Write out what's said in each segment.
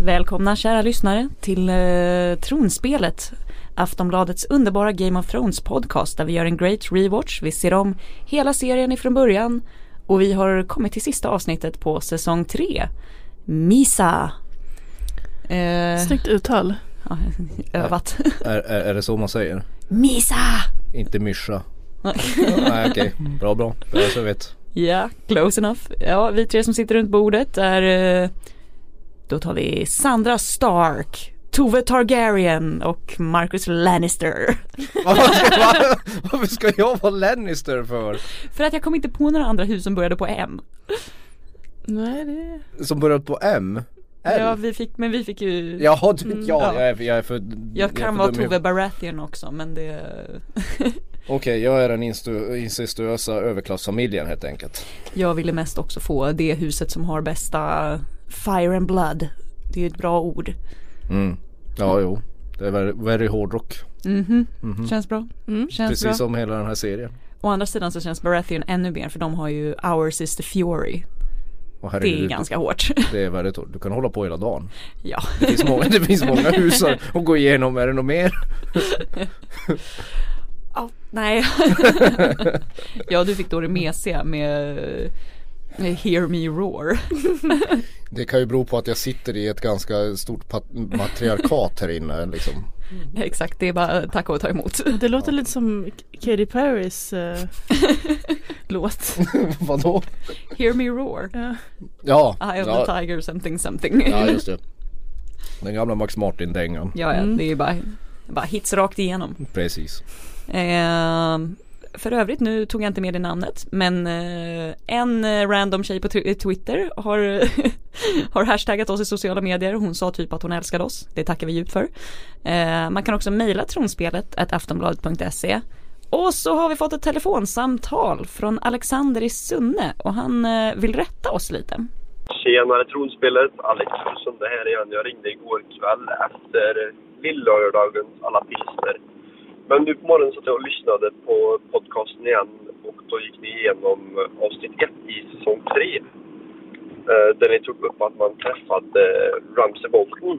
Välkomna kära lyssnare till eh, Tronspelet. Aftonbladets underbara Game of Thrones podcast där vi gör en great rewatch. Vi ser om hela serien ifrån början och vi har kommit till sista avsnittet på säsong 3. Misa. Eh, Snyggt uttal. ja, övat. Är, är, är det så man säger? Misa! Inte myscha? Nej okej, bra bra. Det är så jag vet. Ja, close enough. Ja, vi tre som sitter runt bordet är eh, Då tar vi Sandra Stark, Tove Targaryen och Marcus Lannister. Varför ska, va? Varför ska jag vara Lannister för? För att jag kom inte på några andra hus som började på M. Nej det Som börjar på M? L? Ja, vi fick, men vi fick ju Jaha, du, Mm, ja, ja. Jag, är, jag är för Jag är kan för vara dum i Tove huvudet. Baratheon också men det Okej, jag är den instu- incestuösa överklassfamiljen helt enkelt Jag ville mest också få det huset som har bästa Fire and blood. Det är ju ett bra ord. mm. Ja, jo Det är very, very hårdrock Mhm, Mhm. känns bra. Mm. Känns Precis bra. som hela den här serien Å andra sidan så känns Baratheon ännu mer för de har ju Our Sister Fury. Och Det är herregud, ganska hårt. det är väldigt hårt Du kan hålla på hela dagen ja. Det finns många, det finns många hus att att gå igenom, är det något mer? Ja, nej. ja, du fick då det mesiga med, med Hear Me Roar. Det kan ju bero på att jag sitter i ett ganska stort pat- matriarkat här inne liksom. Mm. Exakt, det är bara eh, tacka och ta emot. Det låter lite som K- Katy Perrys eh, låt. Vadå? Hear Me Roar. Ja. Ja, Eye of ja, the Tiger something something. ja just det Den gamla Max Martin-dängan Ja, ja, Mm. det är ju bara, bara hits rakt igenom. Precis Ehm, för övrigt, nu tog jag inte med det namnet, men eh, en eh, random tjej på tw- Twitter har, har hashtaggat oss i sociala medier. Hon sa typ att hon älskade oss. Det tackar vi djupt för. Ehm, man kan också mejla tronspelet at aftonbladet.se. Och så har vi fått ett telefonsamtal från Alexander i Sunne och han eh, vill rätta oss lite. Tjenare tronspelet, Alex Olsson det här igen. Jag ringde igår kväll efter lillördagens alla pilsner. Men nu på morgonen satt jag och lyssnade på podcasten igen och då gick ni igenom eh, avsnitt 1 i säsong 3. Där ni tog upp att man träffade eh, Ramsey Bolton.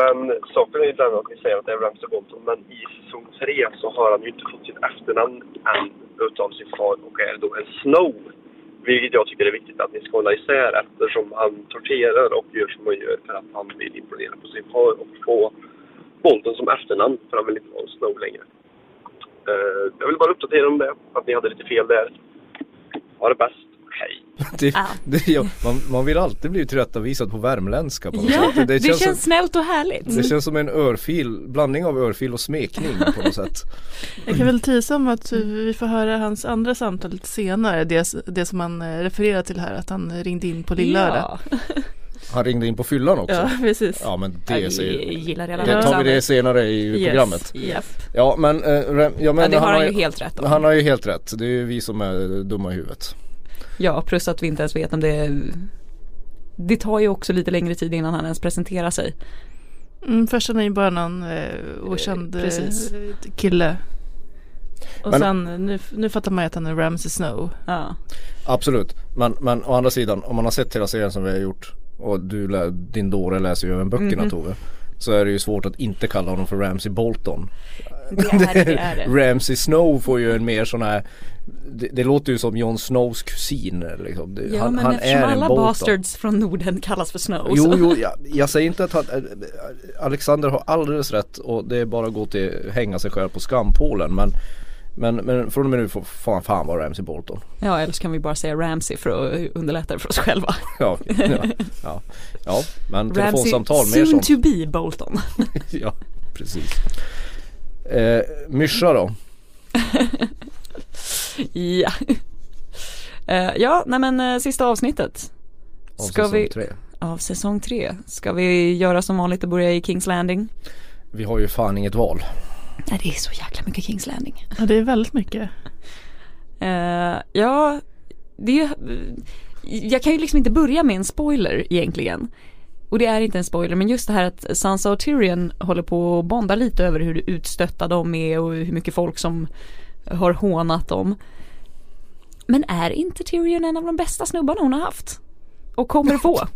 Men saken är ju den att ni säger att det är Ramsey Bolton men i säsong 3 så har han ju inte fått sitt efternamn än utav sin far och är då en Snow. Vilket jag tycker är viktigt att ni ska hålla isär eftersom han torterar och gör som han gör för att han vill imponera på sin far och få Bolton som efternamn för han vill inte vara Snow längre. Eh, jag vill bara uppdatera om det, att ni hade lite fel där. Ha det bäst. Hej! det, Ah. det, ja, man, man vill alltid bli tillrättavisad på värmländska på något Ja, sätt. det, känns, som, snällt och härligt. det känns som en örfil, blandning av örfil och smekning på något sätt Jag kan väl tisa om att vi får höra hans andra samtal lite senare. Det, det som han eh, refererar till här, att han ringde in på lillördag. Ja, Han ringde in på fyllan också. Ja, Ja, precis. men Ja, det, vi säger, gillar redan det tar vi det Alexander. senare i Yes. programmet. Japp. Ja men, eh, Rem- ja, men Ja, det har han har ju helt rätt om. han har ju helt rätt. Det är ju vi som är dumma i huvudet. Ja, plus att vi inte ens vet om det Det tar ju också lite längre tid innan han ens presenterar sig. Mm, först är ju bara någon eh, okänd Eh, eh, precis. kille. Och Men- sen eh, nu, nu fattar man ju att han är Ramsey Snow. Ja, Absolut. Men, men å andra sidan, om man har sett hela serien som vi har gjort och du, lä- din dåre läser ju även böckerna Mhm. Tove. Så är det ju svårt att inte kalla honom för Ramsey Bolton. det är det. det, är det. Ramsey Snow får ju en mer sån här det, det låter ju som Jon Snows kusin liksom. det, Ja, han, men han eftersom är en alla Bolton. bastards från Norden kallas för Snow. Jo, så- jo, jag, jag säger inte att han, eh, Alexander har alldeles rätt och det är bara att gå till hänga sig själv på skampålen men men, men från och med nu får fan, fan vara Ramsey Bolton. Ja, eller så kan vi bara säga Ramsey för att underlätta det för oss själva. Ja, ja, ja, ja men Ramsey, typ. telefonsamtal mer soon sånt. to be Bolton. Ja, precis. Eh, Myscha då? ja. Eh, ja, nej men eh, sista avsnittet Av Ska säsong vi- tre. av säsong tre. Ska vi göra som vanligt och börja i Kings Landing? Vi har ju fan inget val. Nej, det är så jäkla mycket Kings Landing. Ja, det är väldigt mycket. Eh, ja, det är Jag kan ju liksom inte börja med en spoiler egentligen. Och det är inte en spoiler men just det här att Sansa och Tyrion håller på att bonda lite över hur utstötta de är och hur mycket folk som har hånat dem. Men är inte Tyrion en av de bästa snubbarna hon har haft? och kommer få.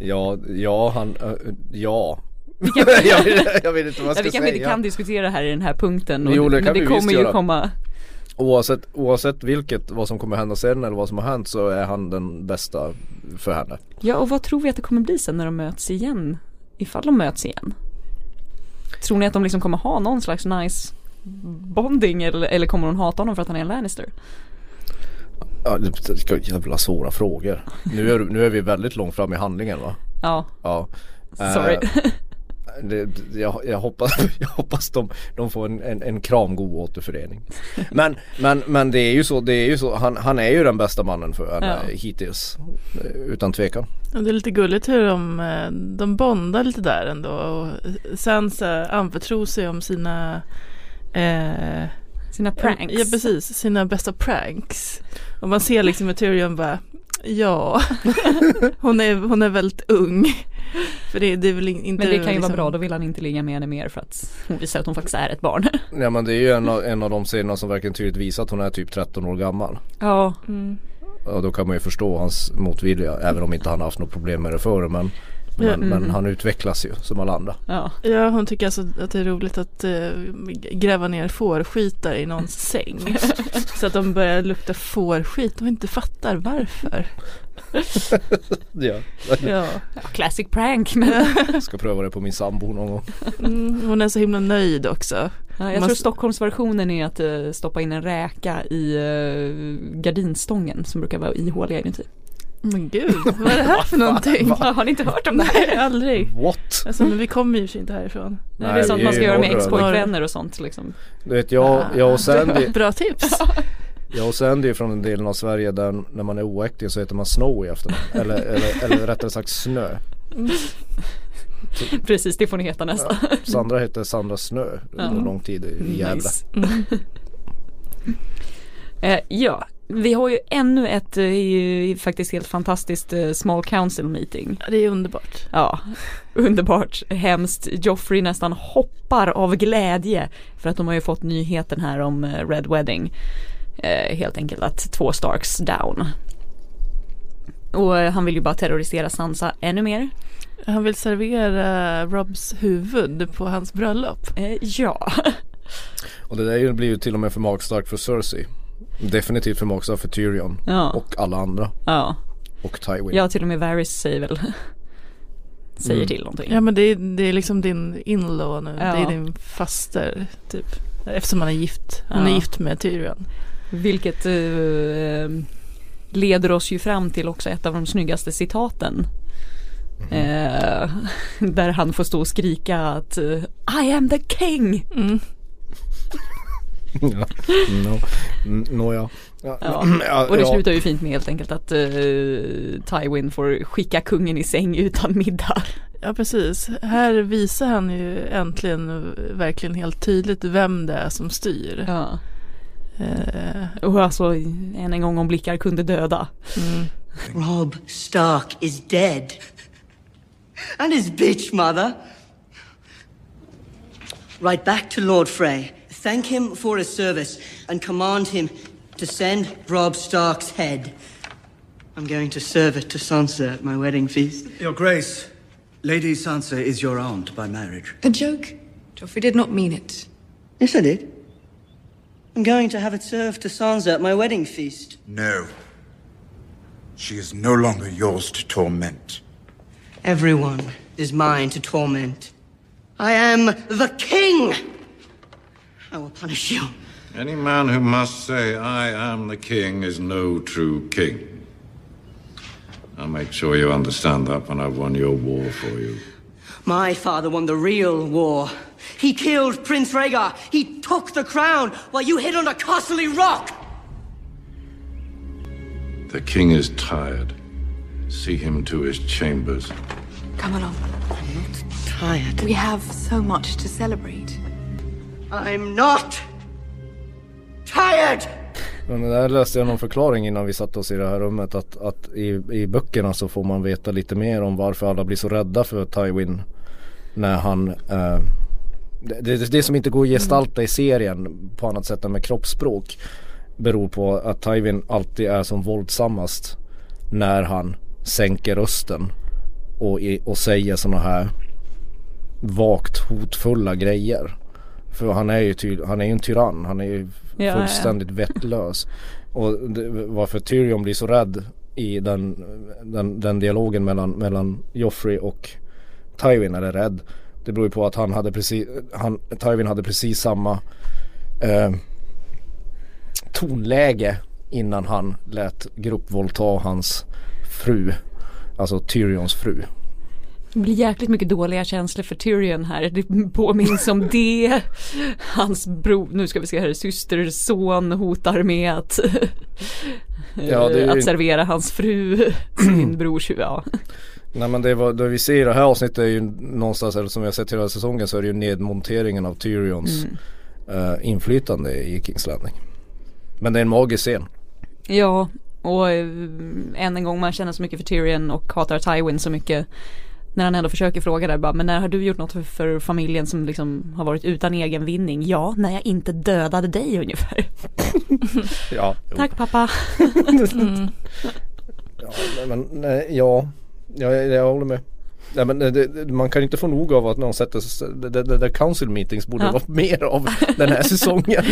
Ja, ja han, eh, ja. Vi kan- jag, vet, jag vet inte vad jag ska Ja, vi kanske säga. inte kan diskutera här i den här punkten. Och, Jo, det men kan det vi kommer visst ju göra. komma. Oavsett, oavsett vilket, vad som kommer hända sen eller vad som har hänt så är han den bästa för henne. Ja, och vad tror vi att det kommer bli sen när de möts igen? Ifall de möts igen. Tror ni att de liksom kommer ha någon slags nice bonding eller, eller kommer hon hata honom för att han är en Lannister? Ja, det- det ska- jävla svåra frågor. Nu är, nu är vi väldigt långt fram i handlingen va? Ja, Ja. Eh, sorry. Det, jag, jag hoppas, jag hoppas de, de får en, en, en kramgod återförening. Men, men, men det är ju så, det är ju så han, han är ju den bästa mannen för henne Ja. hittills. eh, Utan tvekan. Ja, Det är lite gulligt hur de, eh, de bondar lite där ändå och Sansa anförtror sig om sina eh, Sina pranks. Ja precis, sina bästa pranks. Och man ser liksom hur Tyrion bara Ja, hon är, hon är väldigt ung. För det, det är väl in- inte Men det kan ju liksom- vara bra, då vill han inte ligga med henne mer för att hon visar att hon faktiskt är ett barn. Ja men det är ju en av, en av de scenerna som verkligen tydligt visar att hon är typ 13 år gammal. Ja, Mm. Och då kan man ju förstå hans motvilja även om inte han har haft något problem med det förr. Men, men, Ja, Mm. men han utvecklas ju som alla andra. ja. Ja, hon tycker alltså att det är roligt att eh, gräva ner fårskitar i någons säng. Så att de börjar lukta fårskit och inte fattar varför. Ja. Ja. ja classic prank. Men Ska pröva det på min sambo någon gång. Mm, hon är så himla nöjd också. ja, jag Man- tror Stockholmsversionen är att eh, stoppa in en räka i eh, gardinstången som brukar vara ihåliga inuti. Men gud, vad är det här för någonting? Ja, har ni inte hört om det här? Nej, aldrig. What? Alltså, men vi kommer ju i och för sig inte härifrån. Nej, det är sånt vi man ska ju göra med norröna. ex-pojkvänner och sånt liksom. Du vet jag, jag och Sandy, Bra tips. jag och Sandy är från den delen av Sverige där när man är oäkting så heter man Snow i efternamn. Eller, eller, eller rättare sagt Snö. Precis, det får ni heta nästa. Sandra hette Sandra Snö under Ja. lång tid i Gävle. Nice. Mm. Eh, ja, vi har ju ännu ett eh, faktiskt helt fantastiskt eh, small council meeting. Det är underbart. Ja, underbart, hemskt. Joffrey nästan hoppar av glädje för att de har ju fått nyheten här om eh, Red Wedding. Eh, helt enkelt att två Starks down. Och eh, han vill ju bara terrorisera Sansa ännu mer. Han vill servera Robs huvud på hans bröllop. Eh, ja. Och det där ju- blir ju till och med för magstarkt för Cersei. Definitivt för magstarkt för Tyrion. ja. Och alla andra. Ja, Och Tywin. ja till och med Varys säger väl Säger Mm. till någonting Ja men det är, det är liksom din in-law nu. Ja. Det är din faster typ. Eftersom han är gift. Hon Ja. är gift med Tyrion. Vilket eh, leder oss ju fram till också ett av de snyggaste citaten Mm-hmm. eh, Där han får stå och skrika att eh, I am the king Mm. Ja. No. Mm, Nåja. Ja, Mm, Ja, Och det ja. slutar ju fint med helt enkelt att eh, Tywin får skicka kungen i säng utan middag Ja precis. Här visar han ju äntligen eh, verkligen helt tydligt vem det är som styr. ja. Eh, Och alltså än en gång om blickar kunde döda Rob Stark is dead. And his bitch mother. Write back to Lord Frey. Thank him for his service and command him to send Rob Stark's head. I'm going to serve it to Sansa at my wedding feast. Your Grace, Lady Sansa is your aunt by marriage. A joke? Joffrey did not mean it. Yes, I did. I'm going to have it served to Sansa at my wedding feast. No. She is no longer yours to torment. Everyone is mine to torment. I am the king! I will punish you. Any man who must say, I am the king, is no true king. I'll make sure you understand that when I've won your war for you. My father won the real war. He killed Prince Rhaegar. He took the crown while you hid on a costly rock. The king is tired. See him to his chambers. Come along. Tired. We have so much to celebrate. I'm not tired. Men det där läste jag någon förklaring innan vi satte oss i det här rummet att, att i, i böckerna så får man veta lite mer om varför alla blir så rädda för Tywin när han eh, det, det, det som inte går att gestalta i serien på annat sätt än med kroppsspråk beror på att Tywin alltid är som våldsammast när han sänker rösten och, i- och säger sådana här vagt hotfulla grejer. För han är ju, ty- han är ju en tyrann, han är ju ja. fullständigt vettlös. Och det, varför Tyrion blir så rädd i den, den, den dialogen mellan, mellan Joffrey och Tywin eller rädd. Det beror ju på att han hade precis, han, Tywin hade precis samma eh, tonläge innan han lät gruppvåldta hans fru. Alltså Tyrions fru. Det blir jäkligt mycket dåliga känslor för Tyrion här. Det påminns om det. Hans bror, nu ska vi se här, systers son hotar med att, Ja, det är ju- att servera hans fru sin brors huvud. Ja. Nej men det, var, det vi ser i det här avsnittet är ju någonstans, eller som vi har sett hela säsongen så är det ju nedmonteringen av Tyrions eh, inflytande i Kings Landing. Men det är en magisk scen. ja, och eh, än en gång man känner så mycket för Tyrion och hatar Tywin så mycket. När han ändå försöker fråga där bara, men när har du gjort något för, för familjen som liksom har varit utan egen vinning? Ja, när jag inte dödade dig ungefär. Ja, jo. Tack pappa. Ja, nej, men nej, ja, ja jag, jag håller med. Nej, men eh, det, det, man kan inte få nog av att någon sätter sig, det, det, det där council meetings borde Ja. vara mer av den här säsongen.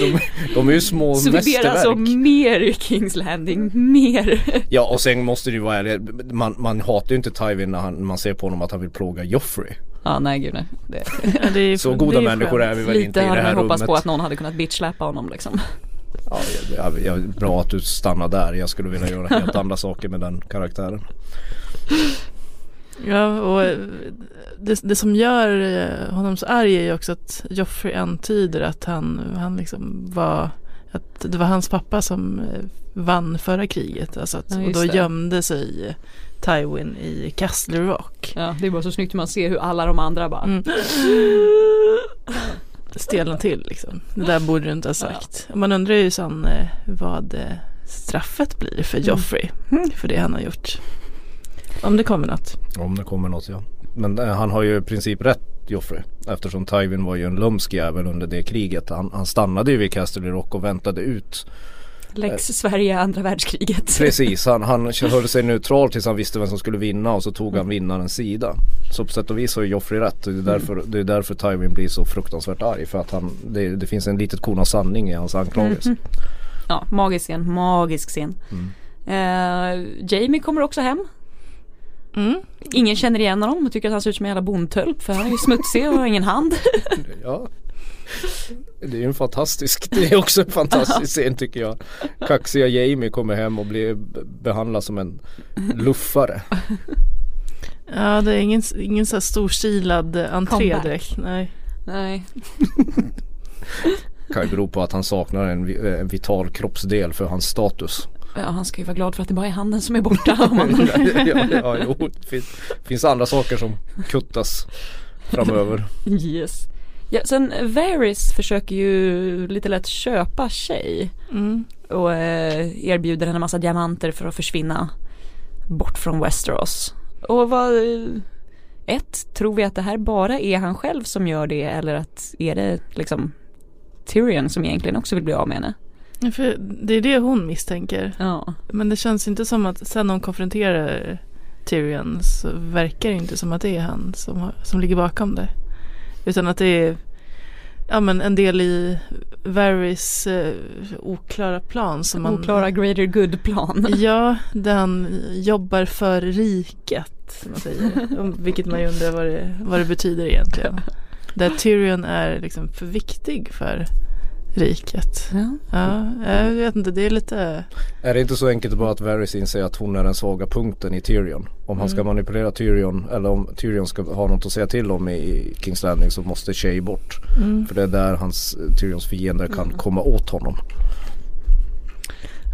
De, de är ju små Så vi ber mästerverk. alltså om mer i Kings Landing, mer. Ja och sen måste det ju vara ärlig, man, man hatar ju inte Tywin när han, man ser på honom att han vill plåga Joffrey. Ja nej gud nej. Det, Ja, det är, Så det goda är människor skönt. är vi väl inte lite i det hade här man hoppats rummet. på att någon hade kunnat bitchsläppa honom liksom. Ja, jag, jag, jag, bra att du stannar där, jag skulle vilja göra helt andra saker med den karaktären. Ja, och eh, det, det som gör eh, honom så arg är ju också att Joffrey antyder att han, han liksom var, att det var hans pappa som eh, vann förra kriget. Alltså att, Ja, och just då det. gömde sig Tywin i Castle Rock. Ja det är bara så snyggt hur man ser hur alla de andra bara Mm. Stelna till liksom. Det där borde du inte ha sagt. Man undrar ju sen eh, vad eh, straffet blir Mm. för Joffrey. För det han har gjort. Om det kommer något. Om det kommer något ja. Men eh, han har ju i princip rätt Joffrey. Eftersom Tywin var ju en lömsk jävel under det kriget. Han, han stannade ju vid Casterly Rock och väntade ut. Lex Sverige andra världskriget. Precis, han, han höll sig neutral tills han visste vem som skulle vinna och så tog han vinnarens sida. Så på sätt och vis har ju Joffrey rätt. Det är därför, det är därför Tywin blir så fruktansvärt arg. För att han, det, det finns en litet korn av sanning i hans anklagelse. Ja magisk scen, magisk scen. Mm. Eh, Jamie kommer också hem. Mm. Ingen känner igen honom och tycker att han ser ut som en jävla bondtölp för han är ju smutsig och har ingen hand. Ja. Det är ju en fantastisk, det är också en fantastisk scen tycker jag. Kaxiga Jamie kommer hem och blir behandlad som en luffare. Ja, det är ingen, ingen så här storstilad eh, entré Comeback. direkt. Nej. Nej. Kan ju bero på att han saknar en, vi- en vital kroppsdel för hans status. Ja han ska ju vara glad för att det bara är handen som är borta. Om han... ja, ja, jo, det finns, finns andra saker som kuttas framöver. Yes. Ja, sen Varys försöker ju lite lätt köpa tjej Mm. och eh, erbjuder henne massa diamanter för att försvinna bort från Westeros. Och vad, eh, ett, tror vi att det här bara är han själv som gör det eller att är det liksom Tyrion som egentligen också vill bli av med henne? Ja, För det är det hon misstänker. Ja. Men det känns inte som att sen hon konfronterar Tyrion så verkar det inte som att det är han som, har, som ligger bakom det. Utan att det är ja, men en del i Varys eh, oklara plan. Som man, Oklara greater good-plan. Ja, där han jobbar för riket. Som man säger. Om- Vilket man ju undrar vad det, vad det betyder egentligen. Där Tyrion är liksom för viktig för riket. Ja. Ja, jag vet inte, det är lite... Är det inte så enkelt bara att Varys inser att hon är den svaga punkten i Tyrion? Om han ska manipulera Tyrion eller om Tyrion ska ha något att säga till om i- i Kings Landing så måste Shay bort. Mm. För det är där hans, Tyrions fiender kan komma åt honom.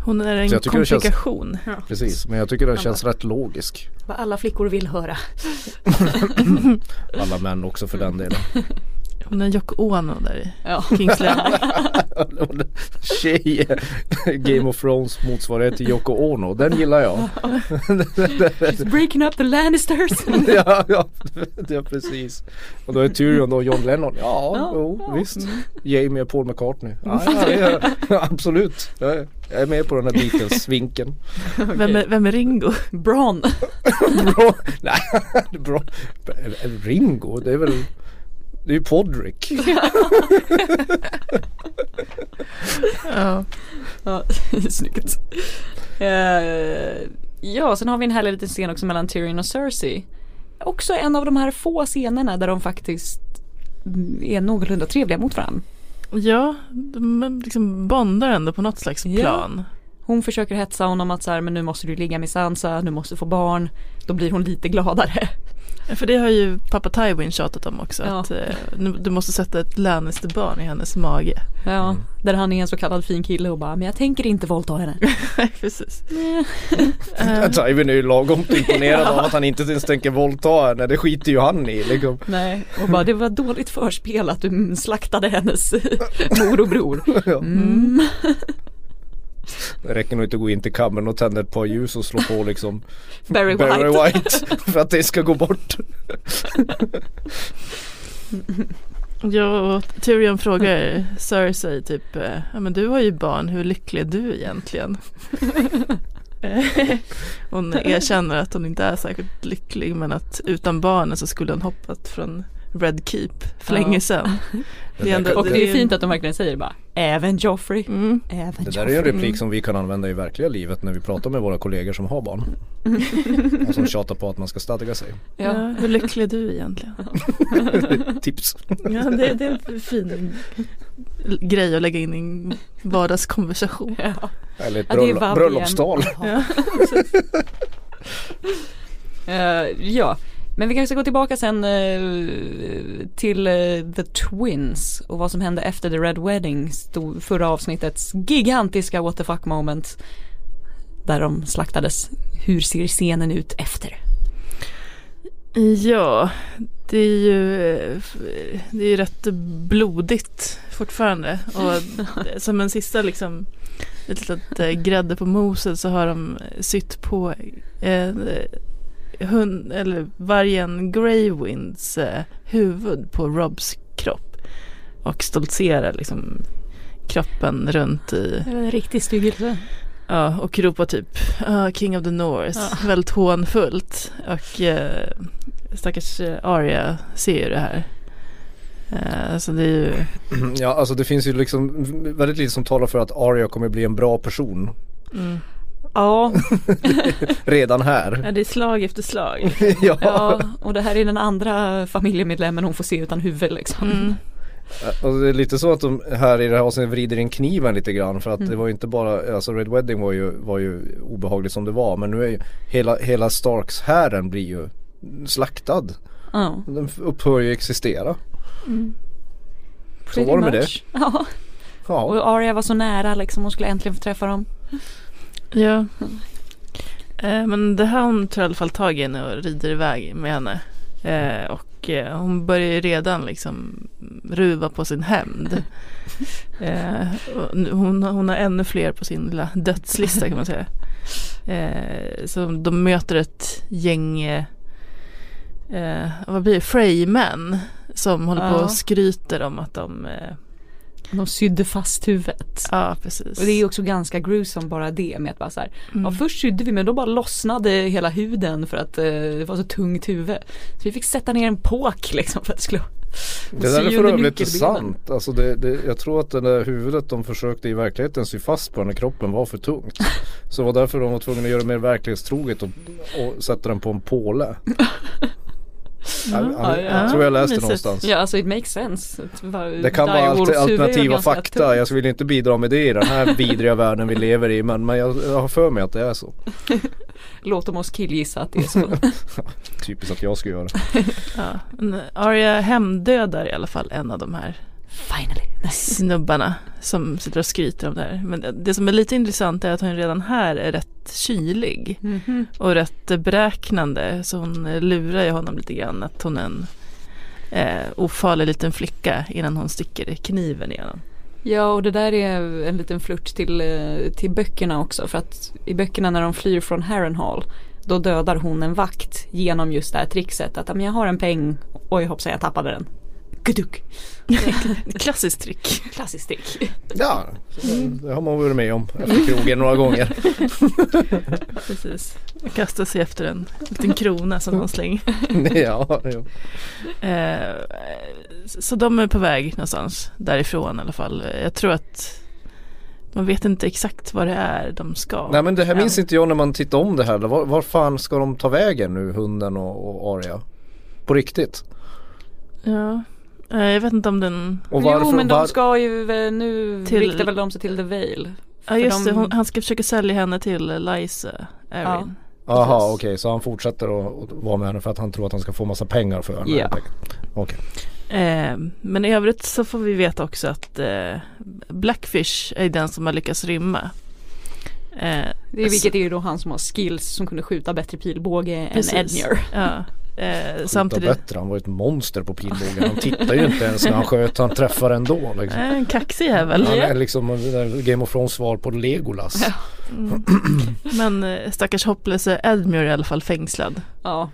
Hon är en Så jag tycker det känns- komplikation. Precis, men jag tycker det känns rätt logisk. Vad alla flickor vill höra. Alla män också för den delen. Hon är Yoko Ono där i Ja. Kings Landing. Tjej, eh, Game of Thrones motsvarighet till Yoko Ono, den gillar jag. She's breaking up the Lannisters. ja, ja, ja, precis. Och då är Tyrion då John Lennon. Ja, Ja, Mm. jo, visst. Jamie och Paul McCartney. Ja, ja, ja, ja, absolut. Ja, ja. Jag är med på den här Beatles-vinkeln. Vem, är, vem är Ringo? Bron. Bra. Nej, bra. Ringo, det är väl det är ju Podrick. Ja. Ja, snyggt. Eh, ja, sen har vi en härlig liten scen också mellan Tyrion och Cersei. Också en av de här få scenerna där de faktiskt mm, är någorlunda trevliga mot varandra. ja, de liksom bondar ändå på något slags Ja. plan. Hon försöker hetsa honom att så här, men nu måste du ligga med Sansa, nu måste du få barn. Då blir hon lite gladare. För det har ju pappa Tywin tjatat om också. Ja. Att eh, nu- du måste sätta ett Lannister-barn i hennes mage. Ja, där han är en så kallad fin kille och bara, men jag tänker inte våldta henne. Nej, precis. Eh. Tywin är ju lagom imponerad av att han inte ens tänker våldta henne. Det skiter ju han i liksom. Nej, och bara, det var dåligt förspel att du slaktade hennes mor och bror. Ja. Mm. Det räcker nog inte att gå in till kammaren och tända ett par ljus och slå på liksom Barry White. Barry White för att det ska gå bort. Ja, och Tyrion frågar Cersei typ, eh, ja men du har ju barn, hur lycklig är du egentligen? Eh, hon erkänner att hon inte är särskilt lycklig men att utan barnen så skulle hon hoppat från Red Keep för Ja. länge sedan. Det är ändå- Och det är fint att de verkligen säger bara, även Joffrey. Mm. Även Det där är ju en Joffrey. replik som vi kan använda i verkliga livet när vi pratar med våra kollegor som har barn. Och som tjatar på att man ska stadga sig. Ja. Ja. hur lycklig är du egentligen? Tips. Ja, det, det är en fin grej att lägga in i en vardagskonversation. Ja. Eller ett Ja, det är bröllop, vabb bröllopstal. Ja. Eh, ja, men vi kanske ska gå tillbaka sen eh, till eh, The Twins och vad som hände efter The Red Wedding, stod förra avsnittets gigantiska what the fuck moment. Där de slaktades. Hur ser scenen ut efter? Ja, det är ju, eh, f- det är ju rätt blodigt fortfarande. Och som en sista liksom, ett litet eh, grädde på moset så har de sytt på eh, hund, eller vargen Greywinds eh, huvud på Robs kropp. Och stoltserar liksom kroppen runt i En riktig styggelse. Ja, och ropar typ "Ah, King of the North, Ja. väldigt hånfullt. Och eh, stackars eh, Arya ser ju det här. Eh, så det är ju, Ja, alltså det finns ju liksom väldigt lite som talar för att Arya kommer bli en bra person mm. Ja, redan här. ja, det är slag efter slag. ja, ja, och det här är den andra familjemedlemmen hon får se utan huvud liksom. Mm. och Eh, alltså, det är lite så att de här i det här avsnittet vrider in kniven lite grann för att Mm. det var ju inte bara, alltså Red Wedding var ju, var ju obehagligt som det var men nu är ju hela, hela Starks hären blir ju slaktad. Ja. Den upphör ju existera. Så var det med det. Ja. Ja, Och Arya var så nära liksom, hon skulle äntligen få träffa dem. Ja. Eh, men det här hon tar i alla fall tag i henne och rider iväg med henne. Eh, och eh, hon börjar ju redan liksom ruva på sin hämnd. Eh, och nu- hon, hon har ännu fler på sin lilla dödslista kan man säga. Eh, så de möter ett gäng, eh, eh, vad blir det, Freymän. Som håller på Ja. och skryter om att de, eh, De sydde fast huvudet. ja precis. Och det är ju också ganska gruesome bara det med att bara så här, Mm. ja först sydde vi men då bara lossnade hela huden för att eh, det var så tungt huvud. Så vi fick sätta ner en påk liksom för att det skulle det där är sy för under övrigt nyckelbenen. sant. Alltså det, det, jag tror att det där huvudet de försökte i verkligheten sy fast på när kroppen var för tungt. Så det var därför de var tvungna att göra det mer verklighetstroget och, och sätta den på en påle. Jag, jag, jag ja. tror jag läste Mysigt. någonstans. Ja alltså it makes sense. Det kan vara alter- alternativa fakta. Jag vill inte bidra med det i den här vidriga världen vi lever i. Men, men jag, jag har för mig att det är så. Låt dem oss killgissa att det är så. Typiskt att jag ska göra. Ja. Men Arya hemdödar i alla fall en av de här Finally. Nice. snubbarna som sitter och skryter om det här. Men det- det som är lite intressant är att hon redan här är rätt kylig och rätt beräknande. Så hon lurar ju honom lite grann att hon är en, eh, ofarlig liten flicka innan hon sticker kniven igenom. Ja och det där är en liten flört till, eh, till böckerna också för att i böckerna när de flyr från Harrenhal då dödar hon en vakt genom just det här trickset att "Ah, men jag har en peng, oj hoppsan jag tappade den. Guduk. Klassiskt trick. Klassiskt trick. Ja, det har man varit med om efter krogen några gånger. Precis. Kastar sig efter en liten krona som hon slänger. ja, jo. Eh, så de är på väg någonstans därifrån i alla fall. Jag tror att man vet inte exakt vad det är de ska. Nej men det här minns Än. inte jag när man tittar om det här. Var, var fan ska de ta vägen nu, hunden och, och Aria? På riktigt. Ja. Eh, Jag vet inte om den... Och jo men var- de ska ju, eh, nu Till- riktar väl de sig till The Vale. Ja För just det, de- hon, han ska försöka sälja henne till eh, Liza eh, Erin. Aha, okej så han fortsätter att, att vara med henne för att han tror att han ska få massa pengar för henne. Ja. helt enkelt. Okej. Eh, men i övrigt så får vi veta också att eh, Blackfish är den som har lyckats rymma. Eh, Det är, vilket är ju då han som har skills som kunde skjuta bättre pilbåge precis. än Edmure. Ja. Eh, Samtidigt... samtidigt, bättre, han var ett monster på pilbågen. Han tittar ju inte ens när han sköt, han träffar ändå. Liksom. eh, en kaxig jävel. Han är liksom eh, Game of Thrones svar på Legolas. Mm. Men eh, stackars hopplöse Edmure är i alla fall fängslad. Ja.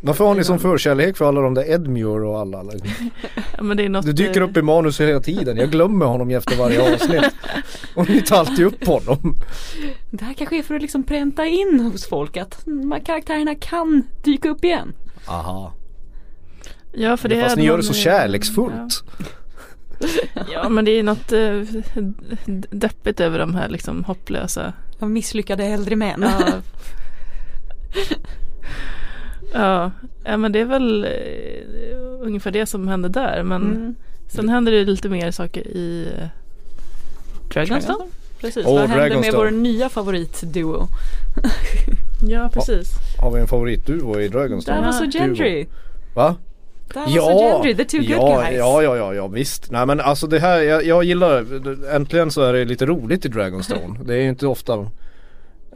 Varför har ni som förkärlek för alla de där Edmure och alla? Liksom? Ja, men det är något, Det dyker eh, upp i manus hela tiden. Jag glömmer honom efter varje avsnitt. Och ni tar alltid upp honom. Det här kanske är för att liksom pränta in hos folk att de här karaktärerna kan dyka upp igen. Aha. Ja, för det Fast är ni gör någon- det så kärleksfullt. Ja, ja men det är något eh, d- deppigt över de här liksom hopplösa. Av misslyckade äldre män. Ja. ja, ja, men det är väl eh, ungefär det som hände där. Men Mm. sen händer det lite mer saker i eh, Dragonstone. Precis, Åh, vad händer med Dragonstone. vår nya favoritduo? Ja, precis. Har vi en favoritduo i Dragonstone? Davos och Gendry. Va? Davos och Gendry, the two good ja, guys. ja, ja, ja, ja, visst. Nej men alltså det här, jag, jag gillar, äntligen så är det lite roligt i Dragonstone. det är ju inte ofta,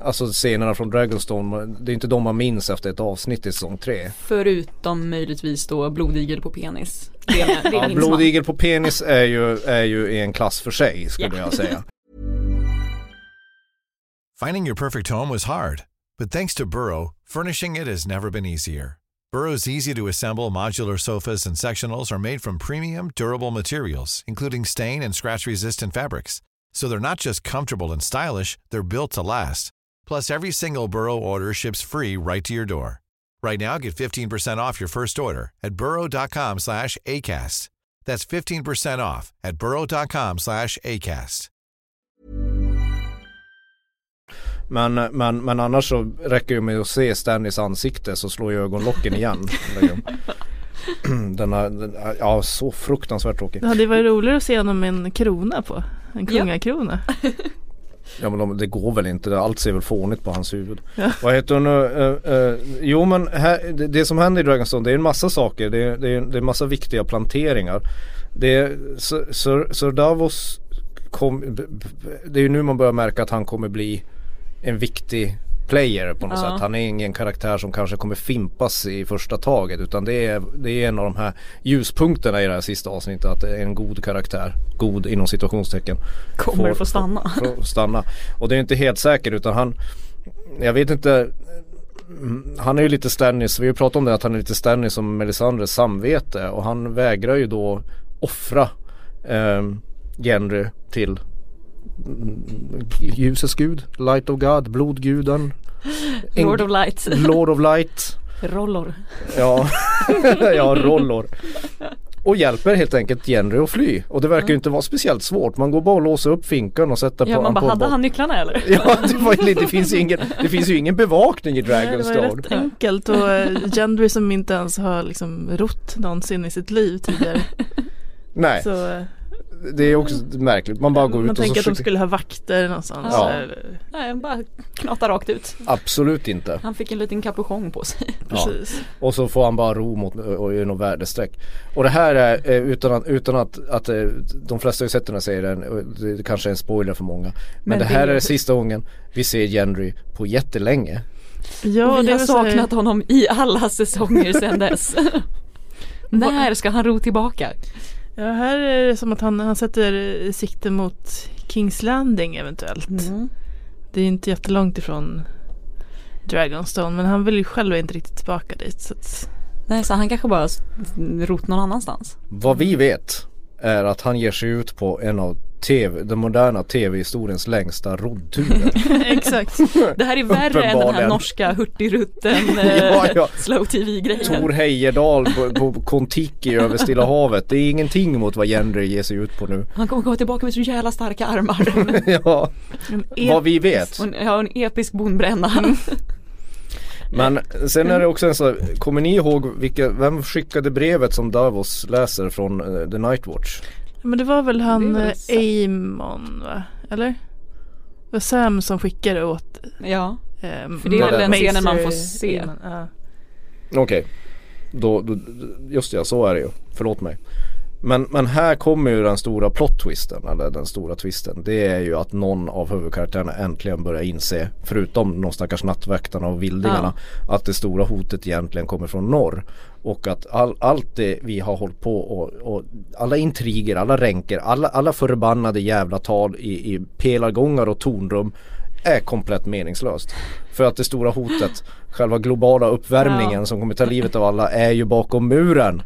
alltså scenerna från Dragonstone, det är inte de man minns efter ett avsnitt i säsong tre. Förutom möjligtvis då blodigel på penis. Det, är- det Ja, minns man. blodigel på penis är ju, är ju i en klass för sig skulle jag säga. Finding your perfect home was hard, but thanks to Burrow, furnishing it has never been easier. Burrow's easy to assemble modular sofas and sectionals are made from premium, durable materials, including stain and scratch resistant fabrics. So they're not just comfortable and stylish, they're built to last. Plus, every single Burrow order ships free right to your door. Right now, get 15% off your first order at burrow.com slash ACAST. That's 15% off at burrow.com slash ACAST. Men, men, men annars så räcker ju med att se Stanleys ansikte så slår ju ögonlocken igen. den här, den, ja så fruktansvärt tråkig. Det hade varit roligare att se honom med en krona på. En Ja. kungakrona. Ja men de, det går väl inte, allt ser väl fånigt på hans huvud. Vad heter hon nu? Eh, eh, jo men här, det, det som händer i Dragonstone det är en massa saker, det, är- det, är- det är en massa viktiga planteringar. Det är, Sir- Sir, Sir Davos kom, b- b- det är ju nu man börjar märka att han kommer bli en viktig player på något Ja. sätt. Han är ingen karaktär som kanske kommer fimpas i första taget utan det är, det är en av de här ljuspunkterna i det här sista avsnittet att det är en god karaktär, god inom situationstecken Kommer få stanna. får stanna. Och det är inte helt säkert utan han, jag vet inte, mm, han är ju lite Stannis, vi har ju pratat om det att han är lite Stannis som Melisandres samvete och han vägrar ju då offra eh, Gendry till mm, ljusets gud, light of God, blodguden, en- Lord of Light. Lord of light, Rollor. ja, ja rollor. Och hjälper helt enkelt Gendry att fly. Och det verkar ju inte vara speciellt svårt. Man går bara och låser upp finkan och sätter Ja på man på bara, en hade box. han nycklarna eller? Ja, det, var ju lite, det, finns ju ingen, det finns ju ingen bevakning i Nej, det var ju Dragonstone. rätt enkelt och eh, Gendry som inte ens har liksom rott någonsin i sitt liv tidigare. Nej, Så eh, det är också märkligt. Man bara går man ut och så tänker att de försöker... skulle ha vakter någonstans. Ja. Eller, Nej han bara knatar rakt ut. Absolut inte. Han fick en liten kapuschong på sig. precis. Och så får han bara ro mot och gör något värdestreck. Och det här är eh, utan, att- utan att, att eh, de flesta har ju sett den här serien, och det kanske är en spoiler för många. Men, Men det det här är- är sista gången vi ser Gendry på jättelänge. Ja, och vi det har är väl så här- saknat honom i alla säsonger sedan dess. När ska han ro tillbaka? Ja, här är det som att han, han sätter eh, sikte mot Kings Landing eventuellt. Mm. Det är inte jättelångt ifrån Dragonstone men han vill ju själv inte riktigt tillbaka dit. Så att... Nej, så han kanske bara s- rot någon annanstans. Vad vi vet är att han ger sig ut på en av TV, den moderna tv-historiens längsta roddturer. Exakt. Det här är värre än den här Uppenbarligen. norska hurtigrutten eh, Ja, ja. slow tv-grejen. Tor Heyerdahl på, på Kon-Tiki över Stilla havet. Det är ingenting mot vad Jenry ger sig ut på nu. Han kommer gå tillbaka med så jävla starka armar. ja, En vad vi Mm. vet. Och en, ja, en episk bonbränna. Men sen är det också en sån här, kommer ni ihåg vilka, vem skickade brevet som Davos läser från eh, The Night Watch? Ja, Men det var väl han Det är väl eh, Amon va? Eller? Det var Sam som skickade åt Ja, eh, för det är väl den Maester scenen man får se. Amon, ja. Okej, då, då, just det, ja, så är det ju. Förlåt mig. Men, men här kommer ju den stora plot-twisten, eller den stora twisten. Det är ju att någon av huvudkaraktärerna äntligen börjar inse, förutom de stackars nattväktarna och vildingarna, att det stora hotet egentligen kommer från norr. Och att all, allt det vi har hållit på och, och alla intriger, alla ränker, alla, alla förbannade jävla tal i, i pelargångar och tornrum är komplett meningslöst. För att det stora hotet, själva globala uppvärmningen Ja. som kommer ta livet av alla är ju bakom muren.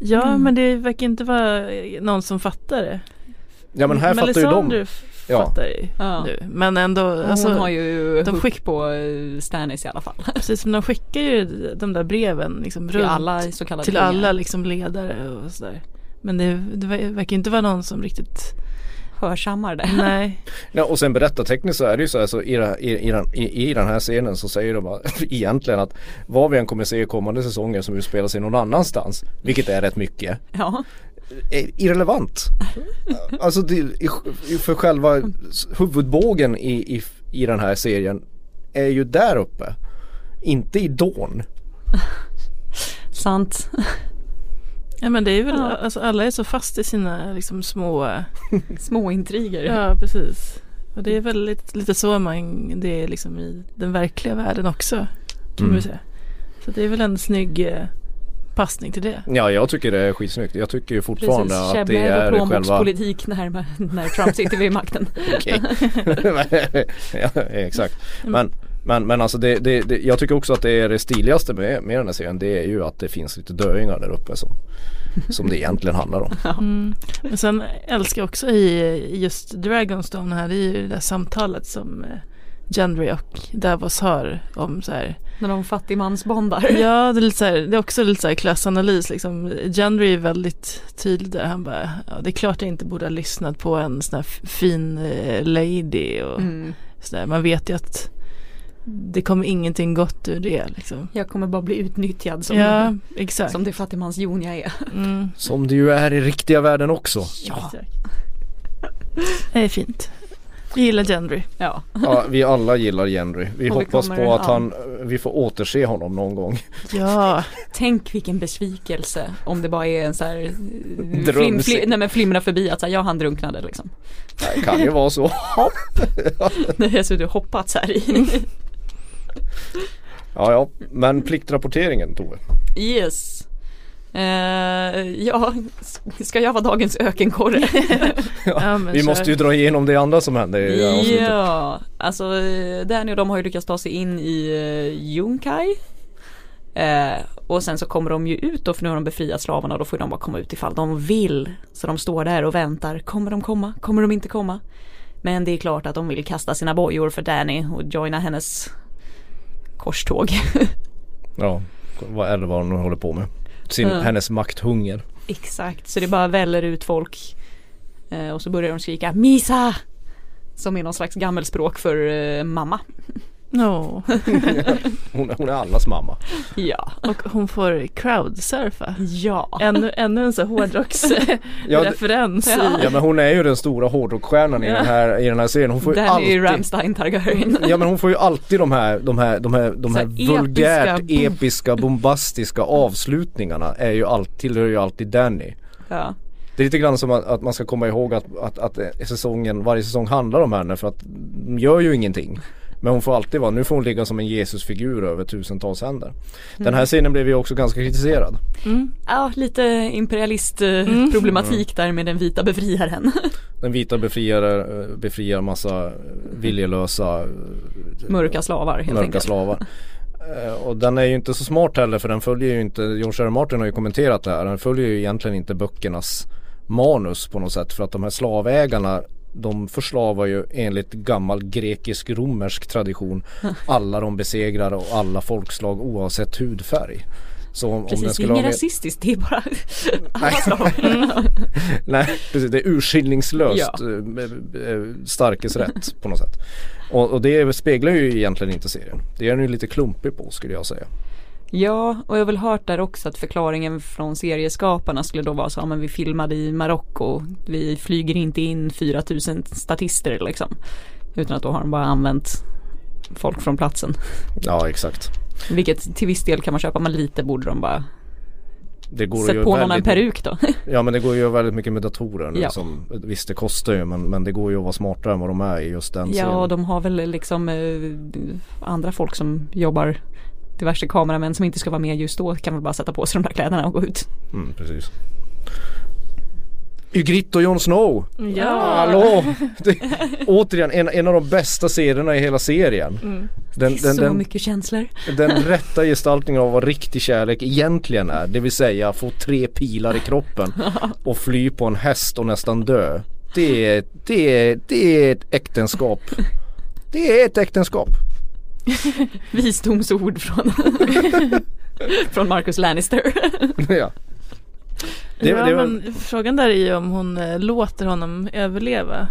Ja Mm. men det verkar inte vara eh, någon som fattar det. Ja men här fattar ju Melisandre de. f- Ja. fattar ju Ja. nu. Men ändå, alltså, Hon har ju de de skick- skick på eh, Stannis i alla fall. precis men de skickar ju de där breven liksom Till runt alla så kallade till kungar. alla liksom ledare och sådär. Men det, det ver- verkar inte vara någon som riktigt, hörsammar det. Mm. nej. Ja, och sen berättartekniskt så är det ju så här så i, det- i, i, den- i, i den här scenen så säger de bara, egentligen att vad vi än kommer se i kommande säsonger som utspelar sig någon annanstans, vilket är rätt mycket, Ja, är irrelevant. Alltså det, i, i- för själva s- huvudbågen i, i, i den här serien är ju där uppe, inte i Dawn. sant. Ja men det är väl, Ja. alltså alla är så fast i sina liksom små, Små intriger. ja precis. Och det är väl lite, lite så man, det är liksom i den verkliga världen också. Kan man Mm. väl säga. Så det är väl en snygg eh, passning till det. Ja, jag tycker det är skitsnyggt. Jag tycker ju fortfarande Precis, att det käbblar är och själva... plånbokspolitik när, när Trump sitter vid makten. Okej. ja, exakt. Men, men, men alltså det, det, det, jag tycker också att det är det stiligaste med, med den här serien det är ju att det finns lite döingar där uppe som, som det egentligen handlar om. Mm. Men sen älskar jag också i i just Dragonstone här, det är ju det där samtalet som eh, Gendry och Davos har om så här När de fattigmansbondar. Ja, det är, lite så här, det är också lite så här klassanalys. Liksom. Gendry är väldigt tydlig där. Han bara, ja, det är klart jag inte borde ha lyssnat på en sån här f- fin eh, lady och Mm. så där. Man vet ju att det kommer ingenting gott ur det. Liksom. Jag kommer bara bli utnyttjad som, ja, exakt. som det fattigmansjon jag är. Mm, Som det ju är i riktiga världen också. exakt. Det är fint. Jag gillar Gendry. Ja. Ja, vi alla gillar Henry. Vi Och vi hoppas kommer- på att ja. han, vi får återse honom någon gång. Ja, Tänk vilken besvikelse om det bara är en så här eh, flim, Drömsig. flim, nej, men flimra förbi att så här, ja han drunknade liksom. Det kan ju vara så. Det är så du hoppats här i. Ja, ja. Men pliktrapporteringen Tove. Yes. Eh, ja, s- ska jag vara dagens ökenkorre? ja men Vi kör. måste ju dra igenom det andra som hände i det här avsnittet. Ja, alltså eh, Danny och de har ju lyckats ta sig in i eh, Yunkai. Eh, och sen så kommer de ju ut då för nu har de befriat slavarna och då får de bara komma ut ifall de vill. Så de står där och väntar, kommer de komma, kommer de inte komma? Men det är klart att de vill kasta sina bojor för Danny och joina hennes korståg. Ja, vad eller vad hon nu håller på med. Sin, Ja. Hennes makthunger. Exakt, så det bara väller ut folk. Eh, och så börjar de skrika Misa! Som är någon slags gammelspråk för eh, mamma. No. Hon, hon är allas mamma. Ja. Och hon får crowdsurfa. Ja. Ännu, ännu en sån här Ja, det- hårdrocksreferens i Ja men hon är ju den stora hårdrockstjärnan i, den här, i den här serien. Hon får ju Danny alltid Mm. Ramstein Targaryen. Ja men hon får ju alltid de här, de här, de här, de Så här här episka vulgärt bo- episka bombastiska avslutningarna är ju alltid, tillhör ju alltid Danny. Ja. Det är lite grann som att, att man ska komma ihåg att, att, att säsongen, varje säsong handlar om henne för att de gör ju ingenting. Men hon får alltid vara, nu får hon ligga som en Jesusfigur över tusentals händer. Den här scenen blev ju också ganska kritiserad. Mm. Ja, lite imperialistproblematik problematik Mm. där med den vita befriaren. Den vita befriar, befriar massa viljelösa Mörka slavar helt mörka enkelt. slavar. Eh, Och den är ju inte så smart heller för den följer ju inte, George R. R. Martin har ju kommenterat det här, den följer ju egentligen inte böckernas manus på något sätt för att de här slavägarna de förslavar ju enligt gammal grekisk-romersk tradition alla de besegrar och alla folkslag oavsett hudfärg. Så om, om den Precis, det är skulle ha inget med, rasistiskt, det är bara alla slavar. Nej, precis. Det är urskillningslöst Ja. eh, eh, starkes rätt på något sätt. Och, och det speglar ju egentligen inte serien. Det är den ju lite klumpig på skulle jag säga. Ja, och jag har väl hört där också att förklaringen från serieskaparna skulle då vara så, ja men vi filmade i Marocko, vi flyger inte in 4000 statister liksom. Utan att då har de bara använt folk från platsen. Ja, exakt. Vilket till viss del kan man köpa, men lite borde de bara Det går sätta ju på någon en väldigt- peruk då. Ja men det går ju väldigt mycket med datorer nu Ja. som Visst det kostar ju men, men det går ju att vara smartare än vad de är i just den ja, och scenen. de har väl liksom eh, andra folk som jobbar, diverse kameramän som inte ska vara med just då kan väl bara sätta på sig de där kläderna och gå ut. Mm, precis. Ygritte och Jon Snow! Ja. Hallå! Det, återigen en, en av de bästa serierna i hela serien. Mm. Den, det är så mycket känslor. Den rätta gestaltningen av vad riktig kärlek egentligen är, det vill säga få tre pilar i kroppen och fly på en häst och nästan dö. Det är, det är, det är ett äktenskap. Det är ett äktenskap. Visdomsord från, från Marcus Lannister. ja. Det- ja, det var- men frågan där är ju om hon eh, låter honom överleva.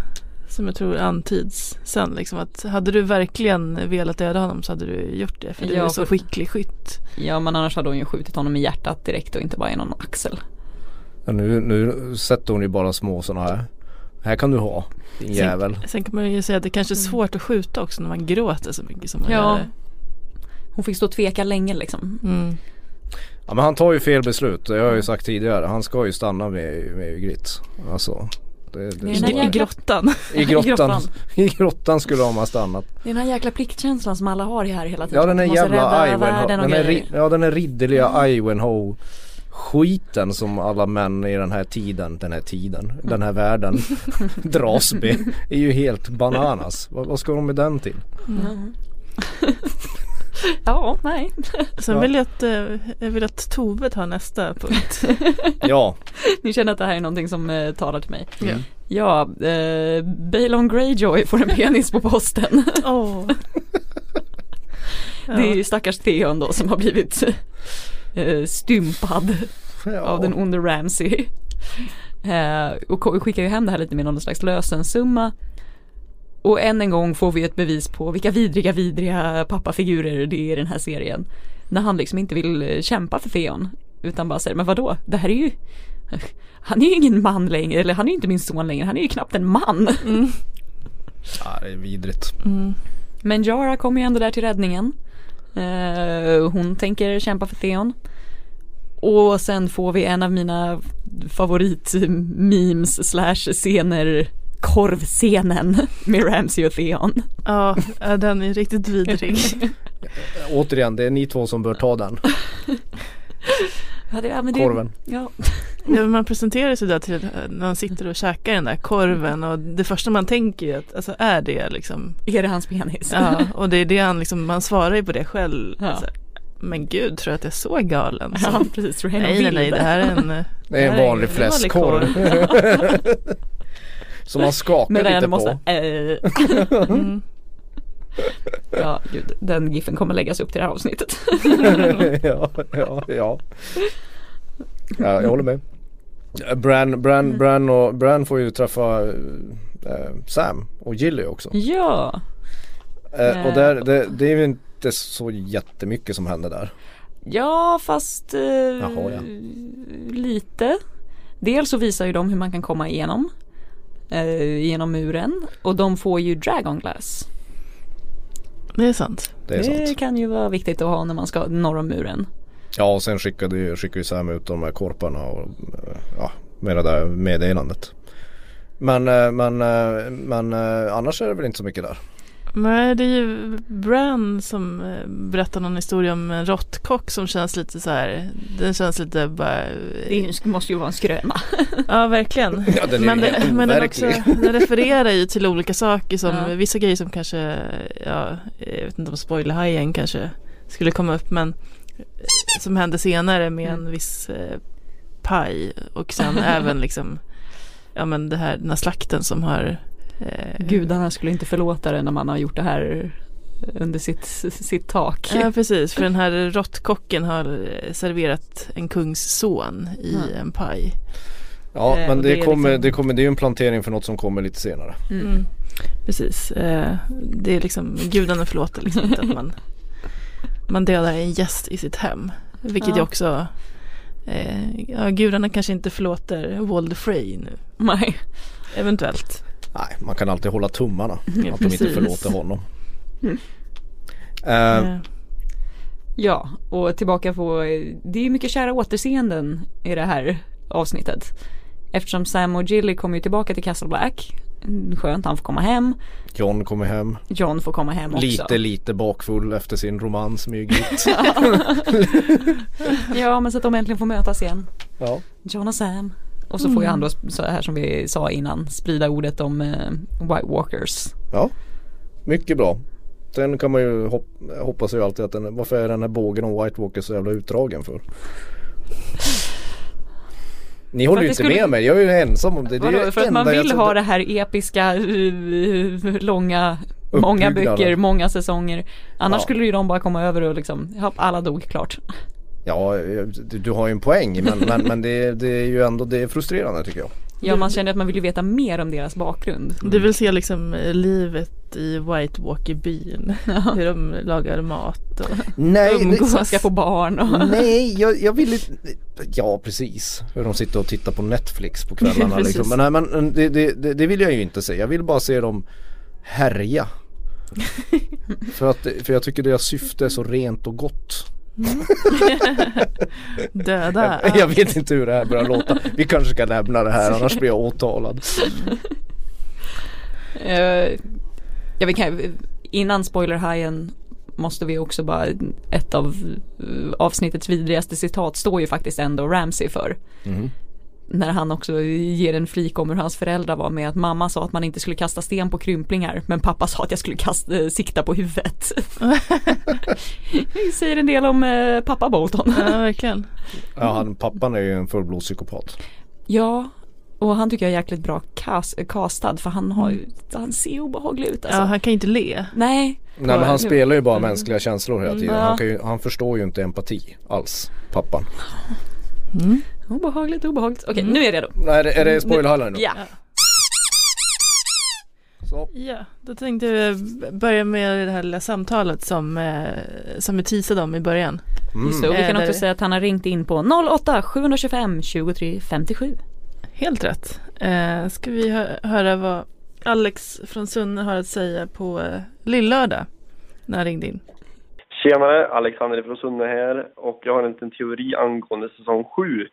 Som jag tror antyds sen liksom att hade du verkligen velat döda honom så hade du gjort det för du Ja, är så för- skicklig skytt. Ja men annars hade hon ju skjutit honom i hjärtat direkt och inte bara i någon axel. Ja, nu, nu sätter hon ju bara små sådana här. Här kan du ha din jävel. Sen, sen kan man ju säga att det kanske är svårt att skjuta också när man gråter så mycket som man Mm. Ja. gör. Eh, Hon fick stå och tveka länge liksom. Mm. Ja men han tar ju fel beslut, det har jag ju sagt tidigare. Han ska ju stanna med, med Ygritte. Alltså. Det, det Nej, står nej, där. I grottan. I grottan. I grottan skulle de ha stannat. Det är den här jäkla pliktkänslan som alla har här hela tiden. Ja den är Man måste jävla rädda Ivanhoe, världen och den är, grejer. Mm. ri- ja den är ridderliga Ivanhoe skiten som alla män i den här tiden, den här tiden, den här världen dras med är ju helt bananas. Vad, vad ska de med den till? Mm. ja, nej. Sen Ja. vill jag att, eh, jag vill att Tove tar nästa punkt. Ja, Ni känner att det här är någonting som eh, talar till mig. Ja. Ja, eh, Balon Greyjoy får en penis på posten. Åh. Det är ju stackars Theon då som har blivit eh, stympad Ja. av den onde Ramsey. Eh, och ko- skickar ju hem det här lite med någon slags lösensumma. Och än en gång får vi ett bevis på vilka vidriga, vidriga pappafigurer det är i den här serien. När han liksom inte vill eh, kämpa för Theon. Utan bara säger, men vadå, det här är ju han är ju ingen man längre, eller han är ju inte min son längre, han är ju knappt en man. ja det är vidrigt. Men Jara kommer ju ändå där till räddningen. Eh, hon tänker kämpa för Theon. Och sen får vi en av mina favoritmemes slash scener korvscenen med Ramsey och Theon. Ja, eh, den är riktigt vidrig. Återigen, det är ni två som bör ta den Ja, det, ja, men det- korven. Ja. Ja, man presenterar sig där till eh, när man sitter och käkar den där korven och det första man tänker ju att alltså, är det liksom Är det hans penis? Ja, och det är det han liksom, man svarar ju på det själv. Ja. Så här, men gud, tror jag att jag är så galen? Så, Ja, precis. Rain nej, nej, nej, det här är en... Det är en vanlig här en vanlig fläskkorv. korv. Som man skakar Men lite den på. måste... eh. Mm. Ja, gud, den giffen kommer läggas upp till det här avsnittet. ja, ja, ja. ja, jag håller med. Bran, Bran, Mm. Bran, och, Bran får ju träffa eh, Sam och Gilly också. Ja, Eh, och där, det, det är ju inte så jättemycket som händer där. ja fast eh, Jaha, ja. lite. Dels så visar ju de hur man kan komma igenom. Eh, genom muren. Och de får ju Dragon Glass. Det är sant. Det är sant. kan ju vara viktigt att ha när man ska norr om muren. Ja och sen skickade ju, skickade ju Sam ut de här korparna och eh, ja, med det där meddelandet. Men, eh, men, eh, men eh, annars är det väl inte så mycket där. Nej, det är ju Bran som eh, berättar någon historia om en råttkock som känns lite så här, den känns lite bara... Det är ju en- måste ju vara en skröna. Ja, verkligen. Ja, den är ju men helt men den, också, overklig. den refererar ju till olika saker som, Ja. vissa grejer som kanske, ja, jag vet inte om spoilerhajen kanske skulle komma upp, men eh, som hände senare med en viss eh, paj och sen även liksom, ja men det här, den här slakten som har eh, Gudarna skulle inte förlåta det när man har gjort det här under sitt, sitt tak. Ja precis, för den här råttkocken har eh, serverat en kungsson i Mm. en paj. Ja Eh, men och det, är kommer, liksom- det kommer, det är ju en plantering för något som kommer lite senare. Mm. Precis, eh, det är liksom gudarna förlåter liksom inte att man, man dödar en gäst i sitt hem. Vilket Ja. ju också, eh, ja, gudarna kanske inte förlåter Walder Frey nu. Nej. Eventuellt. Nej, man kan alltid hålla tummarna Ja, att de inte precis. förlåter honom. Mm. Eh, Ja, och tillbaka på, det är mycket kära återseenden i det här avsnittet. Eftersom Sam och Gilly kommer ju tillbaka till Castle Black. Skönt, han får komma hem. John kommer hem. John får komma hem också. Lite lite bakfull efter sin romans med Ygritte. Ja, men så att de äntligen får mötas igen. Ja. John och Sam. Och så får Mm. ju han då, så här som vi sa innan, sprida ordet om eh, White Walkers. ja, mycket bra. Sen kan man ju hop- hoppas ju alltid att den, varför är den här bågen om White Walker så jävla utdragen för? Ni håller att ju det inte skulle- med mig, jag är ju ensam om det. det är Vadå, det för att man enda jag vill trodde- ha det här episka, eh, långa, många Uppbyggnaden. böcker, många säsonger. Annars Ja. skulle ju de bara komma över och liksom, ja, alla dog klart. Ja, eh, du, du har ju en poäng men, men, men det, det är ju ändå det är frustrerande tycker jag. Ja, man känner att man vill ju veta mer om deras bakgrund. Du vill se liksom eh, livet i White Walker-byn, hur de lagar mat och Nej, umgås. det- Mm. ska få barn och... Nej, jag, jag vill inte... Ja, precis. Hur de sitter och tittar på Netflix på kvällarna Precis. liksom. Men, nej, men det, det, det- det vill jag ju inte se. Jag vill bara se dem härja. för, att, för jag tycker deras syfte är så rent och gott. Döda. Jag, jag vet inte hur det här börjar låta. Vi kanske ska lämna det här annars blir jag åtalad. Eh, ja, vi kan, innan spoilerhajen måste vi också bara, ett av eh, avsnittets vidrigaste citat står ju faktiskt ändå Ramsey för. Mm. När han också ger en flik om hur hans föräldrar var med att mamma sa att man inte skulle kasta sten på krymplingar men pappa sa att jag skulle kasta, eh, sikta på huvudet. Det säger en del om eh, pappa Bolton. Ja, verkligen. Ja, han, pappan är ju en fullblodspsykopat. Ja, och han tycker jag är jäkligt bra kas- castad för han har ju, han ser obehaglig ut alltså. Mm. Ja, han kan ju inte le. Nej. Nej men han Nu- spelar ju bara mänskliga känslor hela tiden. Ja. Han, kan ju, han förstår ju inte empati alls, pappan. Obehagligt, obehagligt. Okej, Mm. nu är jag redo. Är det, är det spoilerhallen nu? Ja. Ja, då tänkte jag börja med det här lilla samtalet som, eh, som vi teasade om i början. Mm. Just det, och vi Eh, kan där- också säga att han har ringt in på 08 725 23 57. Helt rätt. Eh, ska vi hö- höra vad Alex från Sunne har att säga på eh, Lillördag när han ringde in. Tjenare, Alexander från Sunne här och jag har en liten teori angående säsong 7.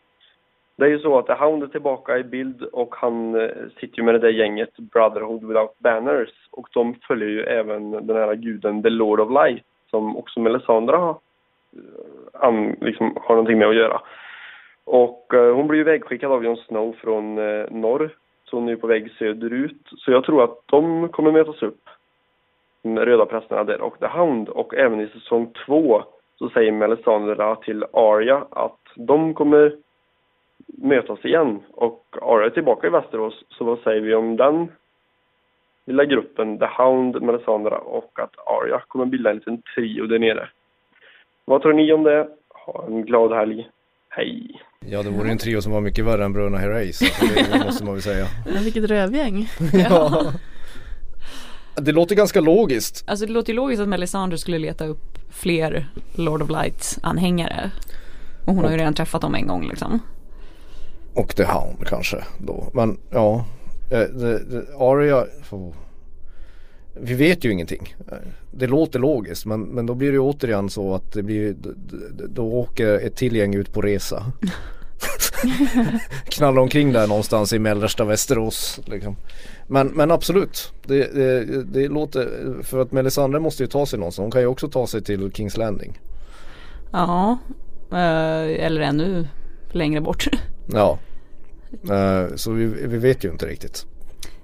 Det är ju så att The Hound är tillbaka i bild och han eh, sitter ju med det där gänget Brotherhood Without Banners och de följer ju även den här guden The Lord of Light som också Melisandre har, eh, an, liksom, har någonting med att göra. Och eh, hon blir ju vägskickad av Jon Snow från eh, norr så hon är ju på väg söderut. Så jag tror att de kommer mötas upp de röda prästerna där och The Hound. Och även i säsong två så säger Melisandre till Arya att de kommer mötas igen. Och Arya är tillbaka i Västerås, så vad säger vi om den lilla gruppen? The Hound, Melisandre och att Arya kommer bilda en liten trio där nere. Vad tror ni om det? Ha en glad helg. Hej! Ja det vore ju en trio som var mycket värre än Bröderna Herreys. Alltså, det måste man väl säga. Ja, vilket rövgäng. Ja. Det låter ganska logiskt. Alltså det låter ju logiskt att Melisandre skulle leta upp fler Lord of Light anhängare. Och hon har ju redan träffat dem en gång liksom. Och The Hound kanske då. Men ja. eh, det- det- Arya. oh. Vi vet ju ingenting. Eh, Det låter logiskt men, men då blir det ju återigen så att det blir, d- d- då åker ett till gäng ut på resa. knalla omkring där någonstans i mellersta Västerås. Liksom. Men, men absolut, det, det, det låter, för att Melisandre måste ju ta sig någonstans. Hon kan ju också ta sig till Kings Landing. Ja, eh, eller ännu längre bort. Ja, eh, så vi, vi vet ju inte riktigt.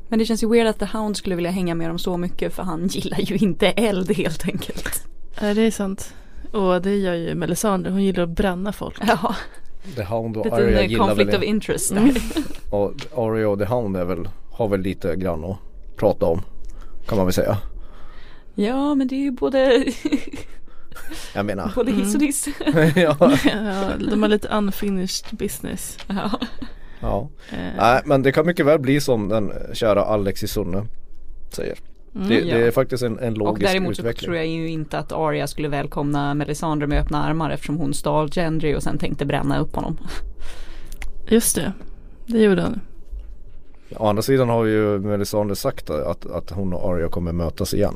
Men det känns ju weird att The Hound skulle vilja hänga med dem så mycket för han gillar ju inte eld helt enkelt. Nej, det är sant. Och det gör ju Melisandre, hon gillar att bränna folk. Ja. The Hound och Lite Arya en eh, gillar väl conflict Mm. of in- interest där. och Arya och The Hound är väl, har väl lite grann att prata om. Kan man väl säga. Ja men det är ju både, Jag menar. både hiss och diss. ja. Ja, de har lite unfinished business. Ja. ja. Eh, Nej men det kan mycket väl bli som den kära Alex i Sunne säger. Mm, det, det ja. är faktiskt en, en Och logisk däremot så utveckling. tror jag ju inte att Arya skulle välkomna Melisandre med öppna armar eftersom hon stal Gendry och sen tänkte bränna upp honom. Just det, det gjorde han. Å andra sidan har ju Melisandre sagt att, att hon och Arya kommer mötas igen.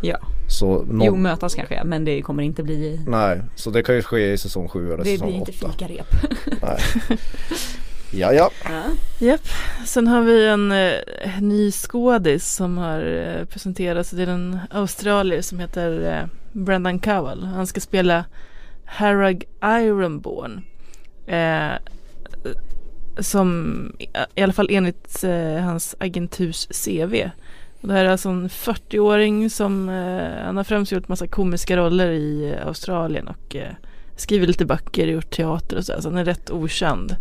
Ja. Så någon, Jo mötas kanske men det kommer inte bli Nej, så det kan ju ske i säsong 7 eller Det blir säsong inte 8. fikarep. Ja, ja. Japp, sen har vi en eh, ny skådis som har eh, presenterats. Det är en australier som heter eh, Brendan Cowell. Han ska spela Harag Ironborn. Eh, som i alla fall enligt eh, hans agenturs CV. Och det här är alltså en 40-åring som eh, han har främst gjort massa komiska roller i eh, Australien och eh, skrivit lite böcker, gjort teater och sådär. Så han är rätt okänd.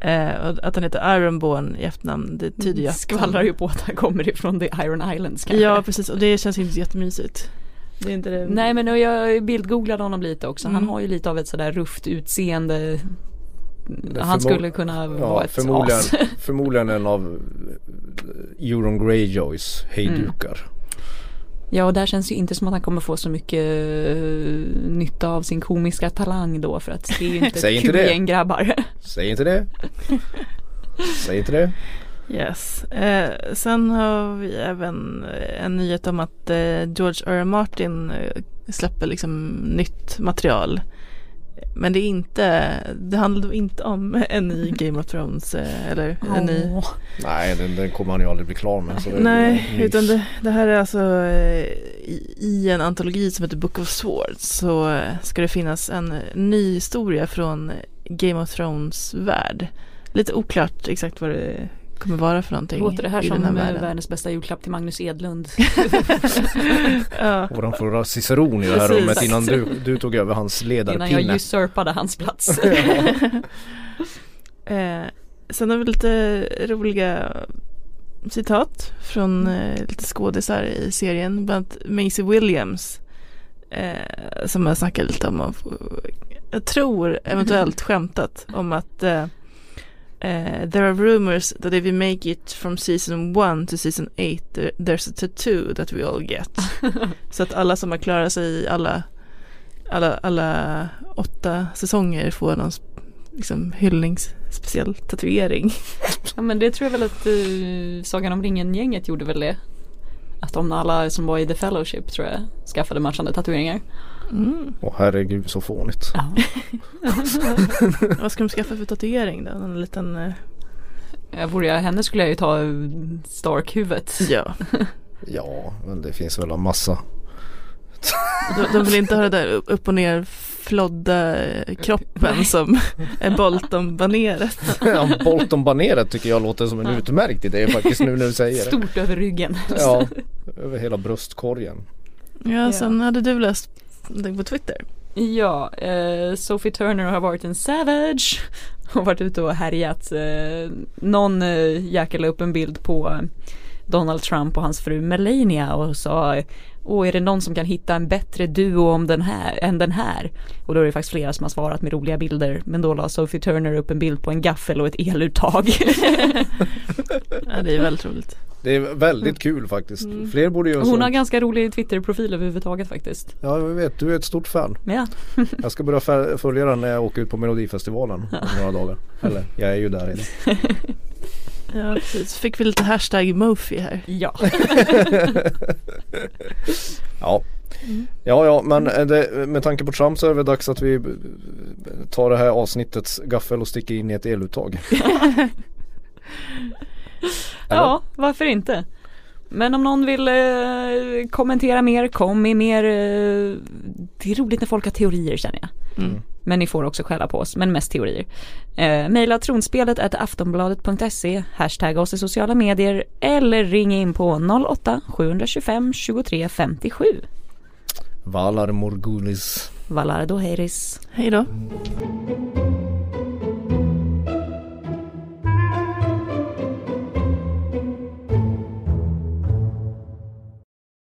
Eh, och att han heter Ironborn i efternamn det tyder ju att Skvallrar ju på att han kommer ifrån The Iron Islands kanske. Ja precis och det känns inte jättemysigt. Det är inte det. Nej men och jag bildgooglade honom lite också. Han Mm. har ju lite av ett sådär rufft utseende. Han förmo- skulle kunna vara ett förmodligen, as. förmodligen en av eh, Euron Greyjoys hejdukar. Mm. Ja och där känns ju inte som att han kommer få så mycket eh, nytta av sin komiska talang då för att det är ju inte Säg ett inte kul det. gäng grabbar. Säg inte det. Säg inte det. Yes. Eh, sen har vi även eh, en nyhet om att eh, George R. R. Martin eh, släpper liksom nytt material. Men det är inte, det handlar då inte om en ny Game of Thrones eh, eller en ny Åh. Nej, den, den kommer han ju aldrig bli klar med. Så det är Nej, nys. utan det, det här är alltså eh, i, i en antologi som heter Book of Swords så eh, ska det finnas en ny historia från Game of Thrones värld. Lite oklart exakt vad det kommer vara för någonting. Låter det här i som den här eh, världen. världens bästa julklapp till Magnus Edlund? ja. Och de får dra ciceron i det här Precis. rummet innan du, du tog över hans Innan jag ledarpinne. usurpade hans plats. eh, sen har vi lite roliga citat från eh, lite skådisar i serien. Bland annat Maisie Williams. Eh, som jag snackade lite om. Och, jag tror eventuellt skämtat om att eh, eh, There are rumors that if we make it from season one to season eight there- there's a tattoo that we all get. Så att alla som har klarat sig i alla, alla, alla åtta säsonger får någon sp- liksom, hyllningsspeciell tatuering. Ja men det tror jag väl att eh, Sagan om ringen-gänget gjorde väl det. Att de alla som var i The Fellowship tror jag skaffade matchande tatueringar. Åh herregud så fånigt. Vad ska de skaffa för tatuering då? En liten... eh, Ja, Eh, Vore jag henne skulle jag ju ta eh, Stark-huvudet. Ja. Ja, men det finns väl en massa. De, de vill inte ha det där upp- upp och ner flodda eh, kroppen som är Bolton-baneret. Ja, Bolton Baneret tycker jag låter som en utmärkt idé faktiskt nu när du säger det. Stort över ryggen. Ja, över hela bröstkorgen. Ja, sen hade du läst någonting på Twitter. Ja, eh, Sophie Turner har varit en savage. Hon har varit ute och härjat. Eh, någon eh, jäkel la upp en bild på eh, Donald Trump och hans fru Melania och sa Åh, är det någon som kan hitta en bättre duo om den här, än den här? Och då är det faktiskt flera som har svarat med roliga bilder. Men då la Sophie Turner upp en bild på en gaffel och ett eluttag. Ja, det är väldigt roligt. Det är väldigt kul faktiskt. Fler borde göra Mm. Hon har så. ganska rolig Twitter-profil överhuvudtaget faktiskt. Ja, jag vet. Du är ett stort fan. Ja, Jag ska börja fä- följa den när jag åker ut på Melodifestivalen om några dagar. Eller, jag är ju där redan. Ja, precis. Fick vi lite hashtag Mofi här. ja. Ja. Mm. Ja, ja, men eh, det, med tanke på Trump så är det väl dags att vi eh, tar det här avsnittets gaffel och sticker in i ett eluttag. Ja, varför inte? Men om någon vill eh, kommentera mer, kom med mer. Eh, det är roligt när folk har teorier känner jag. Mm. Men ni får också skälla på oss, men mest teorier. Eh, Mejla tronspelet at aftonbladet.se, hashtagga oss i sociala medier eller ring in på 08-725 23 57. Valar Morgulis. Valardo Heiris. Hej då. Thank you.